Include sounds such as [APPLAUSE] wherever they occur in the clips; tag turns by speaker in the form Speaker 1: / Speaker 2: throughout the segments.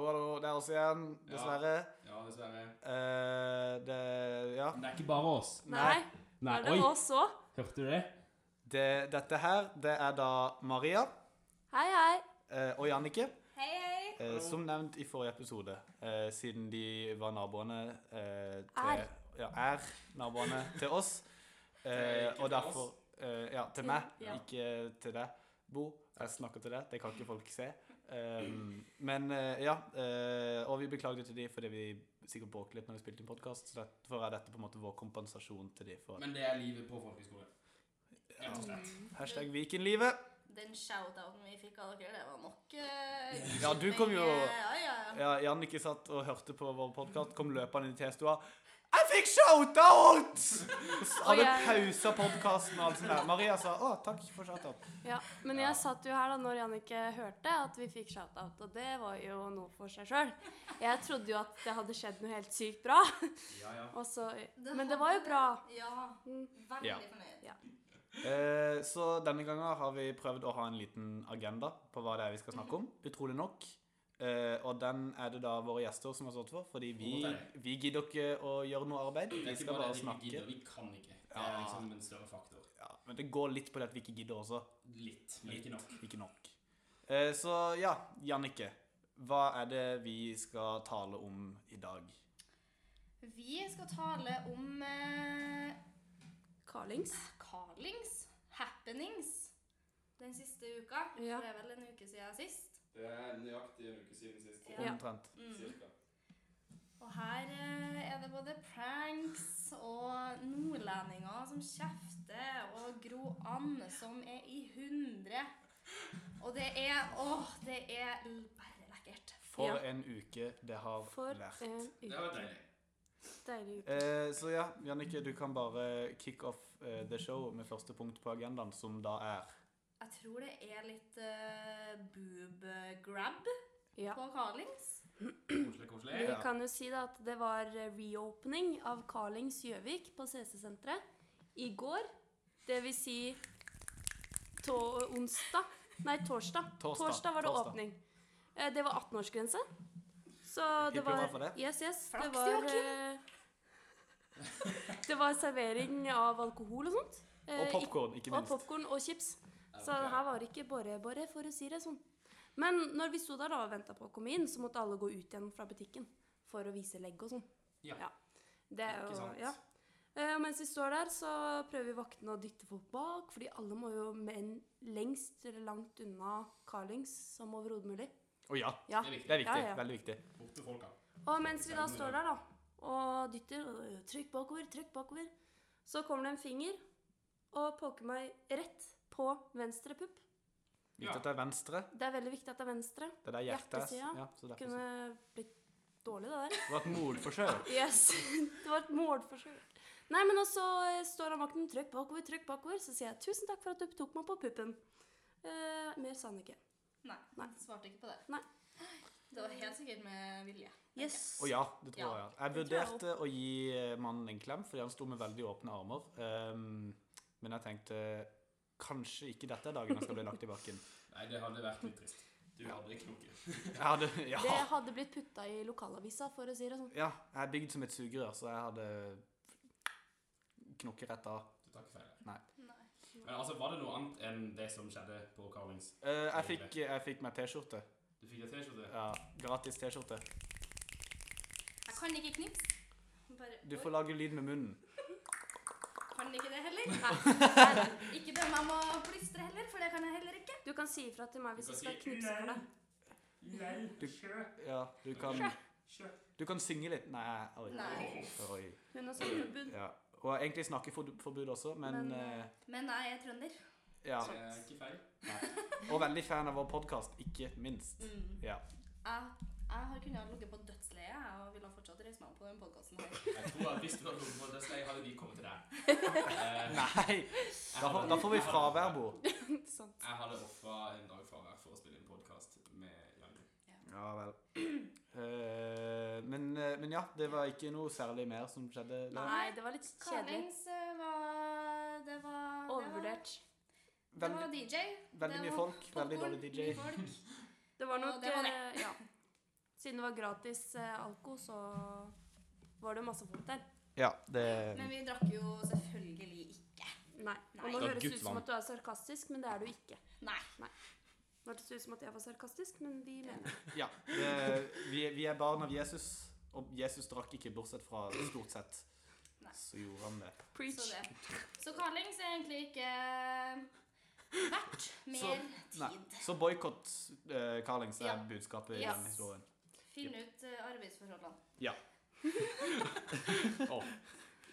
Speaker 1: oss igjen, dessverre.
Speaker 2: Ja, dessverre.
Speaker 1: Eh, det Ja.
Speaker 2: Men det er ikke bare oss.
Speaker 3: Nei,
Speaker 2: Nei,
Speaker 3: er det
Speaker 2: oi,
Speaker 3: oss òg?
Speaker 2: hørte du det?
Speaker 1: Det, dette her, det er da Maria
Speaker 3: Hei, hei.
Speaker 1: eh, og Jannicke.
Speaker 3: Hei, hei.
Speaker 1: Eh, som nevnt i forrige episode, eh, siden de var naboene eh, til,
Speaker 3: Er.
Speaker 1: Ja, er naboene til
Speaker 2: [LAUGHS]
Speaker 1: oss. Eh,
Speaker 2: ikke
Speaker 1: og
Speaker 2: til
Speaker 1: derfor eh, Ja, til meg,
Speaker 3: Ja.
Speaker 1: ikke til deg, Bo. Jeg snakker til deg, det kan ikke folk se. Um, men eh, ja, eh, og vi beklagde til de fordi vi sikkert bråkte litt når vi spilte inn podkast, så derfor er dette på en måte vår kompensasjon til de for
Speaker 2: Men det er livet på folkehøyskole. Rett og slett.
Speaker 1: hashtag Vikenlivet.
Speaker 4: Den shout-outen vi fikk av dere, det var nok eh,
Speaker 1: Ja, du kom jo-
Speaker 4: Ja, ja, ja.
Speaker 1: Ja, Jannicke satt og hørte på vår podkast, kom løpende inn i T-stua. Jeg fikk shoutout!
Speaker 3: Og
Speaker 1: Hadde
Speaker 3: jeg-
Speaker 1: pausa podkasten og alt sånt der. Maria sa å, takk for shoutout.
Speaker 3: Ja, men
Speaker 2: Ja.
Speaker 3: jeg satt jo her da når Jannicke hørte at vi fikk shoutout, og det var jo noe for seg sjøl. Jeg trodde jo at det hadde skjedd noe helt sykt bra,
Speaker 2: Ja, ja.
Speaker 3: og så, men det var jo bra. Mm.
Speaker 4: Ja. Veldig
Speaker 1: Ja.
Speaker 4: fornøyd.
Speaker 1: Eh, så denne gangen har vi prøvd å ha en liten agenda på hva det er vi skal snakke om. Utrolig nok. Eh, og den er det da våre gjester som har stått for, fordi vi, vi gidder ikke å gjøre noe arbeid.
Speaker 2: Det
Speaker 1: Vi
Speaker 2: er ikke
Speaker 1: skal
Speaker 2: bare
Speaker 1: bare
Speaker 2: det vi
Speaker 1: snakke.
Speaker 2: gidder, vi kan ikke. Det er
Speaker 1: Ja.
Speaker 2: liksom en større faktor.
Speaker 1: Ja, men det går litt på det at vi ikke gidder også.
Speaker 2: Litt, men ikke nok.
Speaker 1: Ikke nok. Eh, så ja, Jannicke. Hva er det vi skal tale om i dag?
Speaker 4: Vi skal tale om eh,
Speaker 3: Carlings.
Speaker 4: callings, happenings, den siste uka.
Speaker 3: Ja.
Speaker 4: Det er vel en uke siden sist.
Speaker 2: Det er nøyaktig en uke siden sist.
Speaker 4: Ja.
Speaker 1: Omtrent.
Speaker 4: Mm. Og her eh, er det både pranks og nordlendinger som kjefter, og Gro And som er i hundre. Og det er Åh, det er l- bare lekkert.
Speaker 1: For
Speaker 3: Ja.
Speaker 1: en uke det har
Speaker 3: For
Speaker 1: lært.
Speaker 3: en
Speaker 2: Det var deilig.
Speaker 3: deilig uke.
Speaker 1: Eh, så ja, Jannicke, du kan bare kick off eh, the show med første punkt på agendaen, som da er
Speaker 4: Jeg tror det er litt eh, boob grab
Speaker 3: Ja.
Speaker 4: på Carlings.
Speaker 2: Koselig, koselig.
Speaker 3: Vi
Speaker 1: Ja.
Speaker 3: kan jo si da at det var eh, reopening av Carlings Gjøvik på CC-senteret i går. Det vil si to onsdag Nei, torsdag.
Speaker 1: Torsdag,
Speaker 3: var det
Speaker 1: torsdag.
Speaker 3: åpning. Eh, Det var 18-årsgrense. Så det
Speaker 1: Hipp hurra
Speaker 3: var
Speaker 1: for det.
Speaker 3: Yes, yes. Det
Speaker 4: Flaks,
Speaker 3: var,
Speaker 4: Joakim.
Speaker 3: eh, [LAUGHS] det var servering av alkohol og sånt. Eh,
Speaker 1: Og
Speaker 3: ikke-
Speaker 1: popkorn, ikke
Speaker 3: og
Speaker 1: minst.
Speaker 3: popkorn og chips. Så
Speaker 2: Ok.
Speaker 3: her var det ikke bare-bare, for å si det sånn. Men når vi sto der da og venta på å komme inn, så måtte alle gå ut igjen fra butikken for å vise legg og sånn.
Speaker 2: Ja.
Speaker 3: Det er jo,
Speaker 2: Ikke sant?
Speaker 3: Ja. Eh, Og mens vi står der, så prøver vaktene å dytte folk bak, fordi alle må jo menn lengst eller langt unna Carlings som overhodet mulig.
Speaker 1: Å ja,
Speaker 3: Ja.
Speaker 2: Det er
Speaker 1: det
Speaker 2: viktig.
Speaker 1: er viktig.
Speaker 3: Ja, ja.
Speaker 1: Veldig viktig.
Speaker 2: Borte folka.
Speaker 3: Og mens vi da står der, da, og dytter øh, Trykk bakover, trykk bakover. Så kommer det en finger og poker meg rett på venstre pupp.
Speaker 1: Viktig
Speaker 2: Ja.
Speaker 1: at det er venstre.
Speaker 3: Det er veldig viktig at det er venstre.
Speaker 1: Det er der hjertet er.
Speaker 3: Hjertesida.
Speaker 1: Ja, så derfor så.
Speaker 3: Kunne blitt dårlig, det der. [LAUGHS]
Speaker 1: Det var et mordforsøk.
Speaker 3: Yes, Det var et målforsøk. Nei, men også eh, står han vakten, trykk bakover, trykk bakover. Så sier jeg tusen takk for at du tok meg på puppen. Eh, mer sa han ikke.
Speaker 4: Nei,
Speaker 3: Nei.
Speaker 4: svarte ikke på det.
Speaker 3: Nei.
Speaker 4: Det var helt sikkert med vilje.
Speaker 3: Yes.
Speaker 1: Å ja, det tror jeg.
Speaker 4: Ja,
Speaker 1: ja. Jeg
Speaker 3: det tror jeg
Speaker 1: vurderte å gi eh, mannen en klem, fordi han sto med veldig åpne armer. Ehm, men jeg tenkte kanskje ikke dette er dagen jeg skal bli lagt i
Speaker 3: [LAUGHS]
Speaker 1: bakken.
Speaker 2: Nei, det hadde vært litt trist. Du hadde ikke noe.
Speaker 1: Jeg hadde, ja.
Speaker 3: Det hadde blitt putta i lokalavisa, for å si det sånn.
Speaker 1: ja, jeg er bygd som et sugerør, så jeg hadde knokket rett av.
Speaker 2: Du tar ikke feil. her.
Speaker 4: Nei.
Speaker 2: Men altså, var det noe annet enn det som skjedde på Carlings?
Speaker 1: Eh, jeg, fikk, jeg fikk meg T-skjorte.
Speaker 2: Du fikk en T-skjorte?
Speaker 1: Ja, gratis T-skjorte.
Speaker 4: Jeg kan ikke knipse. Bare,
Speaker 1: Du får lage lyd med munnen.
Speaker 4: Kan ikke det
Speaker 1: [LAUGHS]
Speaker 4: heller. Nei, nei. Ikke døm meg om å plystre heller, for det kan jeg heller ikke.
Speaker 3: Du kan si ifra til meg hvis
Speaker 2: Du
Speaker 3: du
Speaker 2: kan
Speaker 3: skal
Speaker 2: si,
Speaker 3: knipse for
Speaker 2: «Nei».
Speaker 3: deg.
Speaker 2: Nei,
Speaker 1: Du-
Speaker 2: sjø,
Speaker 1: Ja, du kan,
Speaker 2: sjø.
Speaker 1: du kan synge litt. Nei, oi.
Speaker 4: Nei.
Speaker 1: oi.
Speaker 3: Hun har sånn forbud.
Speaker 1: Ja. Og egentlig snakkeforbud også, men,
Speaker 3: Men,
Speaker 1: eh,
Speaker 4: Men jeg er trønder.
Speaker 1: ja.
Speaker 2: Det er ikke feil.
Speaker 1: Og veldig fan av vår podkast, ikke minst.
Speaker 4: Mm.
Speaker 1: Ja.
Speaker 4: Jeg, jeg har kunnet ligget på dødsleiet jeg, og ville fortsatt reist meg opp på den podkasten her.
Speaker 2: Jeg tror at hvis du hadde kommet på det stedet, hadde vi kommet til deg. Eh,
Speaker 1: [LAUGHS] Nei! Da, får- da får vi fravær, Bo.
Speaker 3: [LAUGHS] Sånn.
Speaker 2: Jeg hadde ofra en dag fravær for å spille en podkast med Janne.
Speaker 1: Ja vel. Eh, men, eh, men ja, det var ikke noe særlig mer som skjedde der.
Speaker 3: Nei, det var litt kjedelig.
Speaker 4: Carlings eh, var Det var
Speaker 3: Overvurdert.
Speaker 4: Det var, det var
Speaker 1: Veldig,
Speaker 4: DJ.
Speaker 1: veldig mye folk, veldig dårlig DJ.
Speaker 3: Det var
Speaker 4: Og
Speaker 3: nok
Speaker 4: det var det.
Speaker 3: eh, Ja. Siden det var gratis eh, alko, så var det masse folk der.
Speaker 1: Ja, det
Speaker 4: Men vi drakk jo selvfølgelig ikke.
Speaker 3: Nei. Og nå
Speaker 4: Nei.
Speaker 3: høres det ut som
Speaker 1: Guttvann.
Speaker 3: at du er sarkastisk, men det er du ikke.
Speaker 4: Nei.
Speaker 3: Nå hørtes det ut som at jeg var sarkastisk, men vi mener
Speaker 1: [LAUGHS]
Speaker 3: det.
Speaker 1: ja det, vi, er- vi er barn av Jesus, og Jesus drakk ikke, bortsett fra stort sett.
Speaker 4: Nei.
Speaker 1: Så gjorde han det.
Speaker 4: Så det. Så Carlings er egentlig ikke eh, verdt mer
Speaker 1: Nei.
Speaker 4: tid.
Speaker 1: Så boikott uh, Carlings er
Speaker 4: Ja.
Speaker 1: budskapet i
Speaker 4: Yes.
Speaker 1: den historien.
Speaker 4: Finn ut eh, arbeidsforholdene.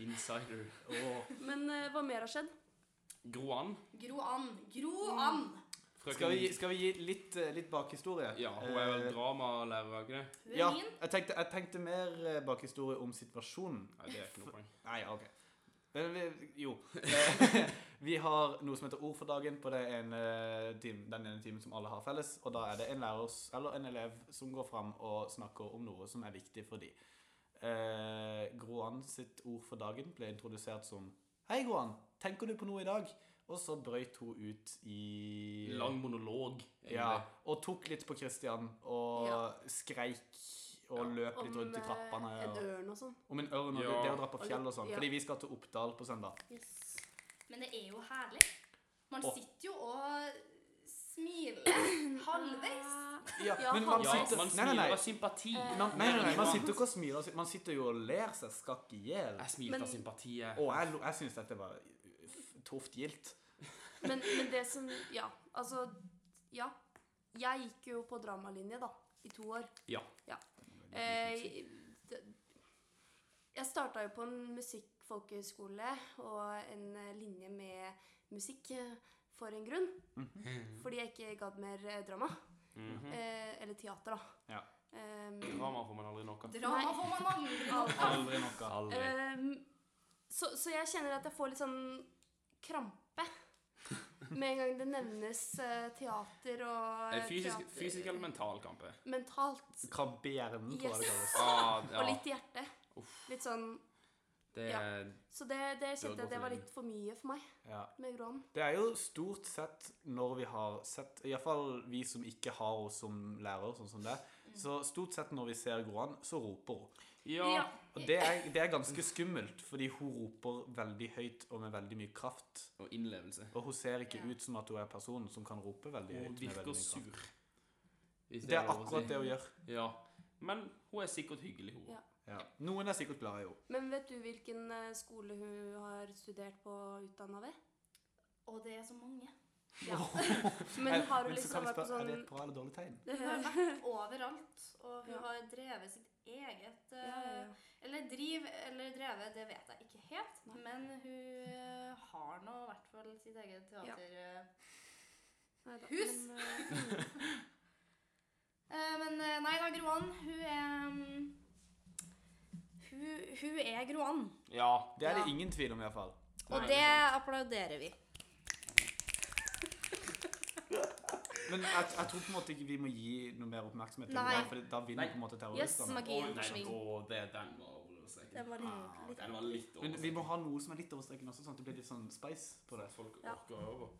Speaker 2: Insider.
Speaker 1: Åh.
Speaker 3: Men eh, hva mer har skjedd?
Speaker 2: Gro an.
Speaker 4: Gro an. Gro an!
Speaker 2: Frøken-
Speaker 1: Skal, vi, skal vi gi litt, eh, litt bakhistorie?
Speaker 2: Ja, hun er vel
Speaker 1: Eh,
Speaker 2: dramalærer, er hun ikke det?
Speaker 4: Hun
Speaker 1: ja,
Speaker 4: er min.
Speaker 1: jeg tenkte, jeg tenkte mer eh, bakhistorie om situasjonen.
Speaker 2: Nei, det er
Speaker 1: [LAUGHS]
Speaker 2: ikke noe poeng.
Speaker 1: Nei, ja, ok. Men vi, jo. Eh, [LAUGHS] vi har noe som heter ord for dagen på det ene tim- den ene timen som alle har felles. Og da er det en lærer s- eller en elev som går fram og snakker om noe som er viktig for dem. Eh, Groan sitt ord for dagen ble introdusert som Hei, Groan, tenker du på noe i dag? Og så brøyt hun ut i
Speaker 2: Lang monolog. egentlig.
Speaker 1: Ja, og tok litt på Christian, og
Speaker 3: Ja.
Speaker 1: skreik og løp litt rundt i
Speaker 3: eh,
Speaker 1: trappene.
Speaker 3: en
Speaker 1: Og,
Speaker 3: ørn og sånn.
Speaker 1: om en ørn og
Speaker 2: Ja.
Speaker 1: det å dra på
Speaker 3: Og
Speaker 1: fjell
Speaker 3: litt-
Speaker 1: og sånn.
Speaker 3: ja.
Speaker 1: Fordi vi skal til Oppdal på søndag.
Speaker 3: Yes.
Speaker 4: Men det er jo herlig. Man
Speaker 1: Åh.
Speaker 4: sitter jo og smiler halvveis.
Speaker 1: Ja,
Speaker 3: Ja,
Speaker 1: men man
Speaker 2: Ja,
Speaker 1: sitter,
Speaker 2: man
Speaker 1: nei,
Speaker 2: smiler
Speaker 1: nei, nei.
Speaker 2: av sympati.
Speaker 3: Eh,
Speaker 1: Man, nei, nei, nei, man sitter ikke og smiler. og sy- Man sitter jo og ler seg skakk i hjel.
Speaker 2: Jeg smilte
Speaker 3: Men-
Speaker 2: av sympati. jeg.
Speaker 1: Og jeg, lo- jeg syns dette var f- tøft gildt.
Speaker 3: Men, men det som Ja, altså Ja. Jeg gikk jo på dramalinje, da, i to år.
Speaker 2: Ja.
Speaker 3: Eh, det- jeg starta jo på en musikkfolkehøyskole og en eh, linje med musikk eh, for en grunn. Fordi jeg ikke gadd mer eh, drama.
Speaker 2: Mhm.
Speaker 3: Eh, eller teater, da.
Speaker 1: Ja.
Speaker 3: Ehm,
Speaker 2: Drama får man aldri nok av.
Speaker 4: Drama får man aldri nok av.
Speaker 1: Aldri noe.
Speaker 2: Aldri.
Speaker 3: Ehm, så, så jeg kjenner at jeg får litt sånn krampe med en gang det nevnes eh, teater og
Speaker 2: Eh, Fysisk,
Speaker 3: teater-
Speaker 2: fysisk eller mental kamp?
Speaker 3: [LAUGHS]
Speaker 2: eh?
Speaker 3: Mentalt.
Speaker 1: Krampe i hjernen, tror jeg det kalles.
Speaker 2: Ah, ja.
Speaker 3: Og litt i hjertet.
Speaker 2: Uff.
Speaker 3: Litt sånn
Speaker 2: Det
Speaker 3: ja.
Speaker 2: er
Speaker 3: Så det, det
Speaker 2: Det var
Speaker 3: kjente jeg
Speaker 2: godt
Speaker 3: det
Speaker 2: for
Speaker 3: var
Speaker 2: deg.
Speaker 3: litt for mye for meg
Speaker 1: Ja.
Speaker 3: med Grån.
Speaker 1: Det er jo stort sett når vi har sett Iallfall vi som ikke har henne som lærer, sånn som det.
Speaker 3: Mm.
Speaker 1: Så stort sett når vi ser Groan, så roper hun.
Speaker 2: Ja.
Speaker 1: Og det er, det er ganske skummelt, fordi hun roper veldig høyt og med veldig mye kraft.
Speaker 2: Og innlevelse.
Speaker 1: Og hun ser ikke
Speaker 4: Ja.
Speaker 1: ut som at hun er personen som kan rope veldig høyt.
Speaker 2: Hun
Speaker 1: med
Speaker 2: virker
Speaker 1: veldig mye kraft.
Speaker 2: sur. Hvis
Speaker 1: Det er
Speaker 2: lov å si.
Speaker 1: akkurat det hun gjør.
Speaker 2: Ja. Men hun er sikkert hyggelig, hun.
Speaker 3: Ja.
Speaker 1: Ja. Noen er sikkert glad i henne.
Speaker 3: Men vet du hvilken eh, skole hun har studert på og utdanna ved?
Speaker 4: Og det er så mange.
Speaker 3: Ja. [LAUGHS] Men
Speaker 1: Eh, Men så
Speaker 3: har hun
Speaker 1: kan
Speaker 3: liksom
Speaker 1: vi
Speaker 3: vært på
Speaker 1: spørre, Er det et
Speaker 3: sånn
Speaker 1: bra eller dårlig tegn?
Speaker 4: Hun har vært overalt, og hun
Speaker 3: Ja.
Speaker 4: har drevet sitt eget
Speaker 3: ja, ja, ja.
Speaker 4: eh, Eller driv eller drevet, det vet jeg ikke helt.
Speaker 3: Nei.
Speaker 4: Men hun eh, har nå i hvert fall sitt eget
Speaker 3: Ja.
Speaker 4: teater. eh.
Speaker 3: Neida,
Speaker 4: Hus!
Speaker 3: men, eh,
Speaker 4: Eh, Men eh, nei da, Groan, hun er mm, hun, hun er Groan.
Speaker 2: Ja.
Speaker 1: Det er det
Speaker 4: Ja.
Speaker 1: ingen tvil om, iallfall.
Speaker 4: Og
Speaker 2: Nei, det
Speaker 4: det
Speaker 2: er
Speaker 4: applauderer vi.
Speaker 1: Men jeg, jeg tror på en måte ikke vi må gi noe mer oppmerksomhet til
Speaker 4: Nei.
Speaker 1: det, for da vinner
Speaker 2: Nei.
Speaker 1: på en måte
Speaker 4: Yes,
Speaker 1: terroristene.
Speaker 4: magien
Speaker 2: Oi, nei, å,
Speaker 4: forsvinner.
Speaker 2: det, den var
Speaker 5: altså.
Speaker 2: overstreken.
Speaker 4: Den var litt-
Speaker 2: Ah,
Speaker 4: litt-
Speaker 2: den var litt
Speaker 1: Men vi
Speaker 2: overstreken.
Speaker 1: må ha noe som er litt over streken også, sånn at det blir litt sånn spice på det.
Speaker 2: Folk
Speaker 3: Ja.
Speaker 2: orker å høre på.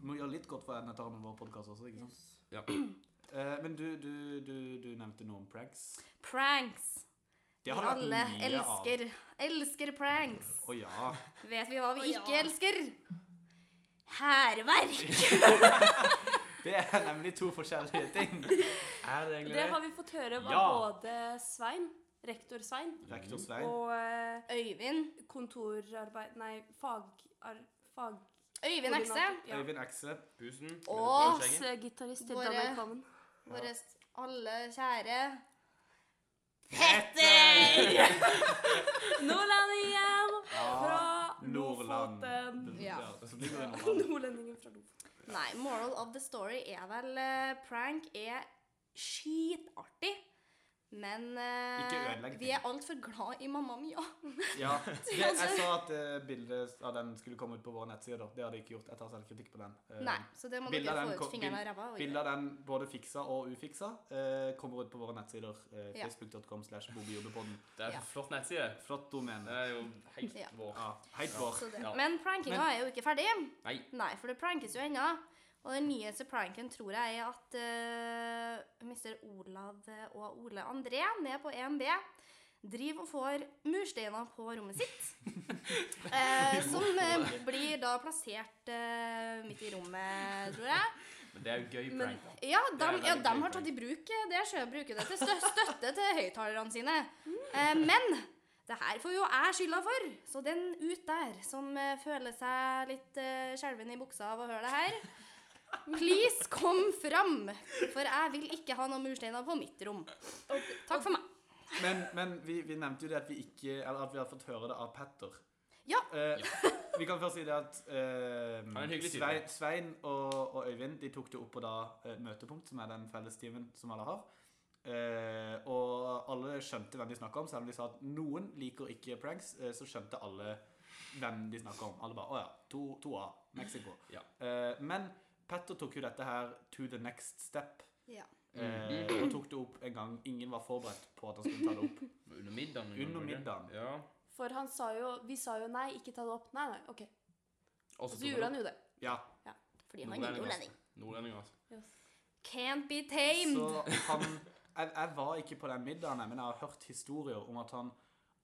Speaker 1: Vi må gjøre litt godt for en etter annen vår podcast også, ikke sant?
Speaker 3: yes.
Speaker 2: Ja.
Speaker 1: Eh, men du, du, du, du nevnte noe om pranks.
Speaker 4: Pranks.
Speaker 1: Det har det vært mye
Speaker 4: Alle
Speaker 1: av.
Speaker 4: elsker. Elsker pranks.
Speaker 1: Å ja.
Speaker 4: Vet vi hva vi
Speaker 3: Å, ja.
Speaker 4: ikke elsker? Hærverk.
Speaker 1: Det er nemlig to forskjellige ting.
Speaker 2: Er det egentlig
Speaker 3: Det har vi fått høre var
Speaker 2: Ja.
Speaker 3: både Svein, rektor Svein,
Speaker 1: Rektor Svein.
Speaker 3: og eh,
Speaker 4: Øyvind.
Speaker 3: kontorarbeid Nei, fagar, fag...
Speaker 4: Øyvind Ekse.
Speaker 3: Ja.
Speaker 1: Øyvind Ekse.
Speaker 2: Busen? med
Speaker 4: Åh,
Speaker 2: skjegget.
Speaker 3: Vår gitarist til
Speaker 4: Våre-
Speaker 3: Danmark Kvammen.
Speaker 4: Vår alle kjære
Speaker 3: Nordlendingen fra
Speaker 1: Nordland.
Speaker 3: Lofoten.
Speaker 4: Ja.
Speaker 1: så blir det
Speaker 3: [LAUGHS]
Speaker 1: Nordland.
Speaker 3: Nordlendingen fra Lofoten.
Speaker 4: Nei, moral of the story er vel eh, Prank er skitartig. Men eh,
Speaker 1: Ikke ødelegg
Speaker 4: vi er altfor glad i Mamma Mia.
Speaker 1: Ja. Det, jeg sa at eh, bildet av den skulle komme ut på våre nettsider. da. Det hadde jeg ikke gjort. Jeg tar selvkritikk på den. Eh,
Speaker 4: Nei, så det må
Speaker 1: bildet
Speaker 4: dere
Speaker 1: av
Speaker 4: få
Speaker 1: den
Speaker 4: ut
Speaker 1: ko-
Speaker 4: fingrene
Speaker 1: bil-
Speaker 4: av ræva. og
Speaker 1: Bilder
Speaker 4: gjøre.
Speaker 1: av den både fiksa og ufiksa eh, kommer ut på våre nettsider. Eh,
Speaker 4: Ja.
Speaker 1: Facebook.com slash bobijobbepodden.
Speaker 2: Det er
Speaker 4: Ja.
Speaker 2: en flott nettside.
Speaker 1: Flott domen.
Speaker 2: Det er jo helt
Speaker 4: Ja.
Speaker 2: vår.
Speaker 1: Ja, helt vår.
Speaker 4: Så det-
Speaker 2: Ja.
Speaker 4: Men prankinga
Speaker 1: Men-
Speaker 4: er jo ikke ferdig.
Speaker 2: Nei.
Speaker 4: for det prankes jo ennå. Og den nyeste pranken tror jeg er at eh, Mr. Olav eh, og Ole André ned på EMB driver og får mursteiner på rommet sitt. eh, som eh, blir da plassert eh, midt i rommet, tror jeg.
Speaker 5: Men det er jo gøy
Speaker 4: Men,
Speaker 5: prank. da.
Speaker 4: ja,
Speaker 5: Det er
Speaker 4: de, ja,
Speaker 5: veldig
Speaker 4: de
Speaker 5: gøy
Speaker 4: har
Speaker 5: prank.
Speaker 4: tatt i bruk eh, det. Sjø bruker det til stø støtte til høyttalerne sine. Eh, men det her får jo jeg skylda for. Så den ut der som eh, føler seg litt eh, skjelven i buksa av å høre det her, please kom fram! For jeg vil ikke ha noen mursteiner på mitt rom. Takk for meg.
Speaker 1: Men, men vi, vi nevnte jo det at vi ikke Eller at vi hadde fått høre det av Petter.
Speaker 4: Ja.
Speaker 1: Eh, vi kan først si det at
Speaker 5: er
Speaker 1: eh,
Speaker 5: en hyggelig type.
Speaker 1: Svein, Svein og, og Øyvind De tok det opp på da eh, møtepunkt, som er den fellestimen som alle har. Eh, og alle skjønte hvem de snakka om, selv om de sa at noen liker ikke pranks. eh, så skjønte alle hvem de snakka om. Alle bare Å ja. 2A, Mexico.
Speaker 5: Ja.
Speaker 1: Eh, men Petter tok jo dette her to the next step.
Speaker 4: Ja.
Speaker 1: Eh,
Speaker 5: Mm.
Speaker 1: og tok det opp en gang ingen var forberedt på at han skulle ta det opp.
Speaker 5: Under middagen. en gang,
Speaker 1: Under
Speaker 5: var det ikke?
Speaker 1: middagen.
Speaker 5: Ja.
Speaker 3: For han sa jo Vi sa jo nei, ikke ta det opp. Nei, nei, OK.
Speaker 5: Og
Speaker 3: Og så gjorde han jo det.
Speaker 1: Ja,
Speaker 4: Fordi han er nordlending.
Speaker 5: Nordlending, altså.
Speaker 4: Can't be tamed.
Speaker 1: så han jeg, jeg var ikke på den middagen, men jeg har hørt historier om at han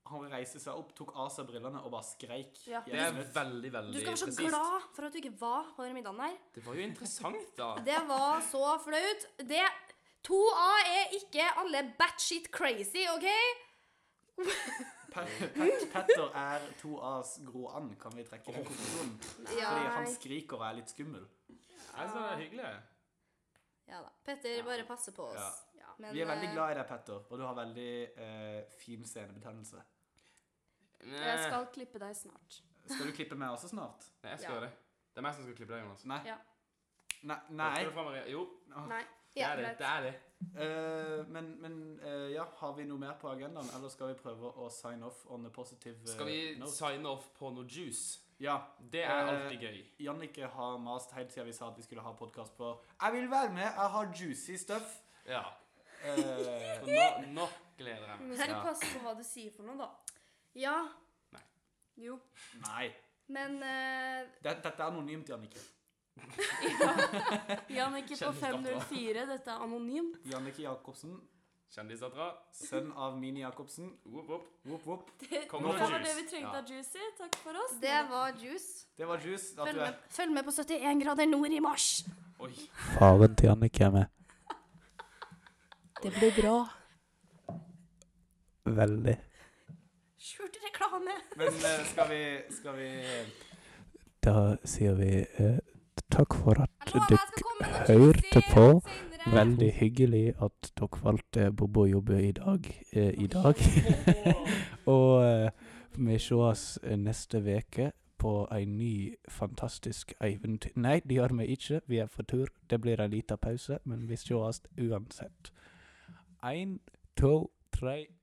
Speaker 1: han reiste seg opp, tok av seg brillene og bare skreik.
Speaker 3: Ja.
Speaker 1: i
Speaker 5: Det
Speaker 1: et
Speaker 5: er
Speaker 1: minutt.
Speaker 5: veldig, veldig
Speaker 4: Du skal være så
Speaker 5: presist.
Speaker 4: glad for at du ikke var på den middagen her.
Speaker 5: Det var jo interessant, da.
Speaker 4: Det var så flaut. Det 2A er ikke alle batshit crazy, OK?
Speaker 1: Pet, Pet, Petter er 2As Gro And, kan vi trekke den konklusjonen? Fordi han skriker og er litt skummel.
Speaker 5: Jeg synes det er hyggelig.
Speaker 4: ja da. Petter, bare passe på oss. Ja. Men,
Speaker 1: Vi er veldig
Speaker 4: eh,
Speaker 1: glad i deg, Petter, og du har veldig eh, fin senebetennelse.
Speaker 3: Jeg
Speaker 2: Eh.
Speaker 3: skal klippe deg snart.
Speaker 1: Skal du klippe meg også snart?
Speaker 5: Nei, jeg skal
Speaker 4: Ja.
Speaker 5: gjøre det. Det er meg som skal klippe deg, Jonas.
Speaker 1: Nei.
Speaker 4: Ja.
Speaker 1: Nei. nei.
Speaker 5: Skal du fra, Maria? Jo,
Speaker 3: Nei.
Speaker 5: det
Speaker 4: Ja,
Speaker 5: er det.
Speaker 4: greit.
Speaker 5: Det er det.
Speaker 1: Eh, men men eh, ja, har vi noe mer på agendaen, eller skal vi prøve å sign off on a positive eh,
Speaker 5: Skal vi
Speaker 1: note?
Speaker 5: signe off på noe juice?
Speaker 1: Ja.
Speaker 5: Det er alltid gøy.
Speaker 1: Jannicke har mast helt siden vi sa at vi skulle ha podkast på Jeg vil være med, jeg har juicy stuff.
Speaker 5: Ja.
Speaker 1: Eh,
Speaker 5: Så nå, nå gleder jeg meg.
Speaker 3: Du skal
Speaker 1: Ja.
Speaker 3: passe på hva du sier for noe, da.
Speaker 4: ja,
Speaker 3: Jo.
Speaker 1: nei.
Speaker 4: men eh,
Speaker 1: Det, dette er anonymt, Jannicke.
Speaker 3: Jannicke på
Speaker 5: Kjennes godt, da.
Speaker 3: 504. Dette er anonymt.
Speaker 1: Jannicke Jacobsen,
Speaker 5: Kjendisdattera.
Speaker 1: sønn av Mini Jacobsen.
Speaker 5: Whoop, whoop.
Speaker 1: Whoop, whoop.
Speaker 5: Kom
Speaker 3: Det
Speaker 5: med
Speaker 3: var det vi
Speaker 5: juice.
Speaker 3: trengte
Speaker 5: Ja.
Speaker 3: av Juicy. Takk for oss.
Speaker 4: det var juice.
Speaker 1: Det var juice. At
Speaker 4: Følg
Speaker 1: du
Speaker 4: med,
Speaker 1: er
Speaker 4: følg med på 71 grader nord i mars.
Speaker 5: Oi.
Speaker 1: Faren til Jannicke er med.
Speaker 5: Det
Speaker 3: blir bra.
Speaker 1: Veldig.
Speaker 4: Skjult reklame.
Speaker 1: Men eh, skal vi Skal vi
Speaker 6: Da sier vi eh, takk for
Speaker 4: Jeg
Speaker 6: at
Speaker 4: lover jeg
Speaker 6: dere
Speaker 4: skal komme med noe
Speaker 6: hørte
Speaker 4: juicy
Speaker 6: på.
Speaker 4: senere.
Speaker 6: Veldig hyggelig at dere valgte Bobo jobbe i dag. Eh, I dag. [LAUGHS] Og eh, vi sees eh, neste uke på ei ny fantastisk eventyr... Nei, det gjør vi ikke. Vi er på tur. Det blir ei lita pause, men vi sees uansett. Én, to, tre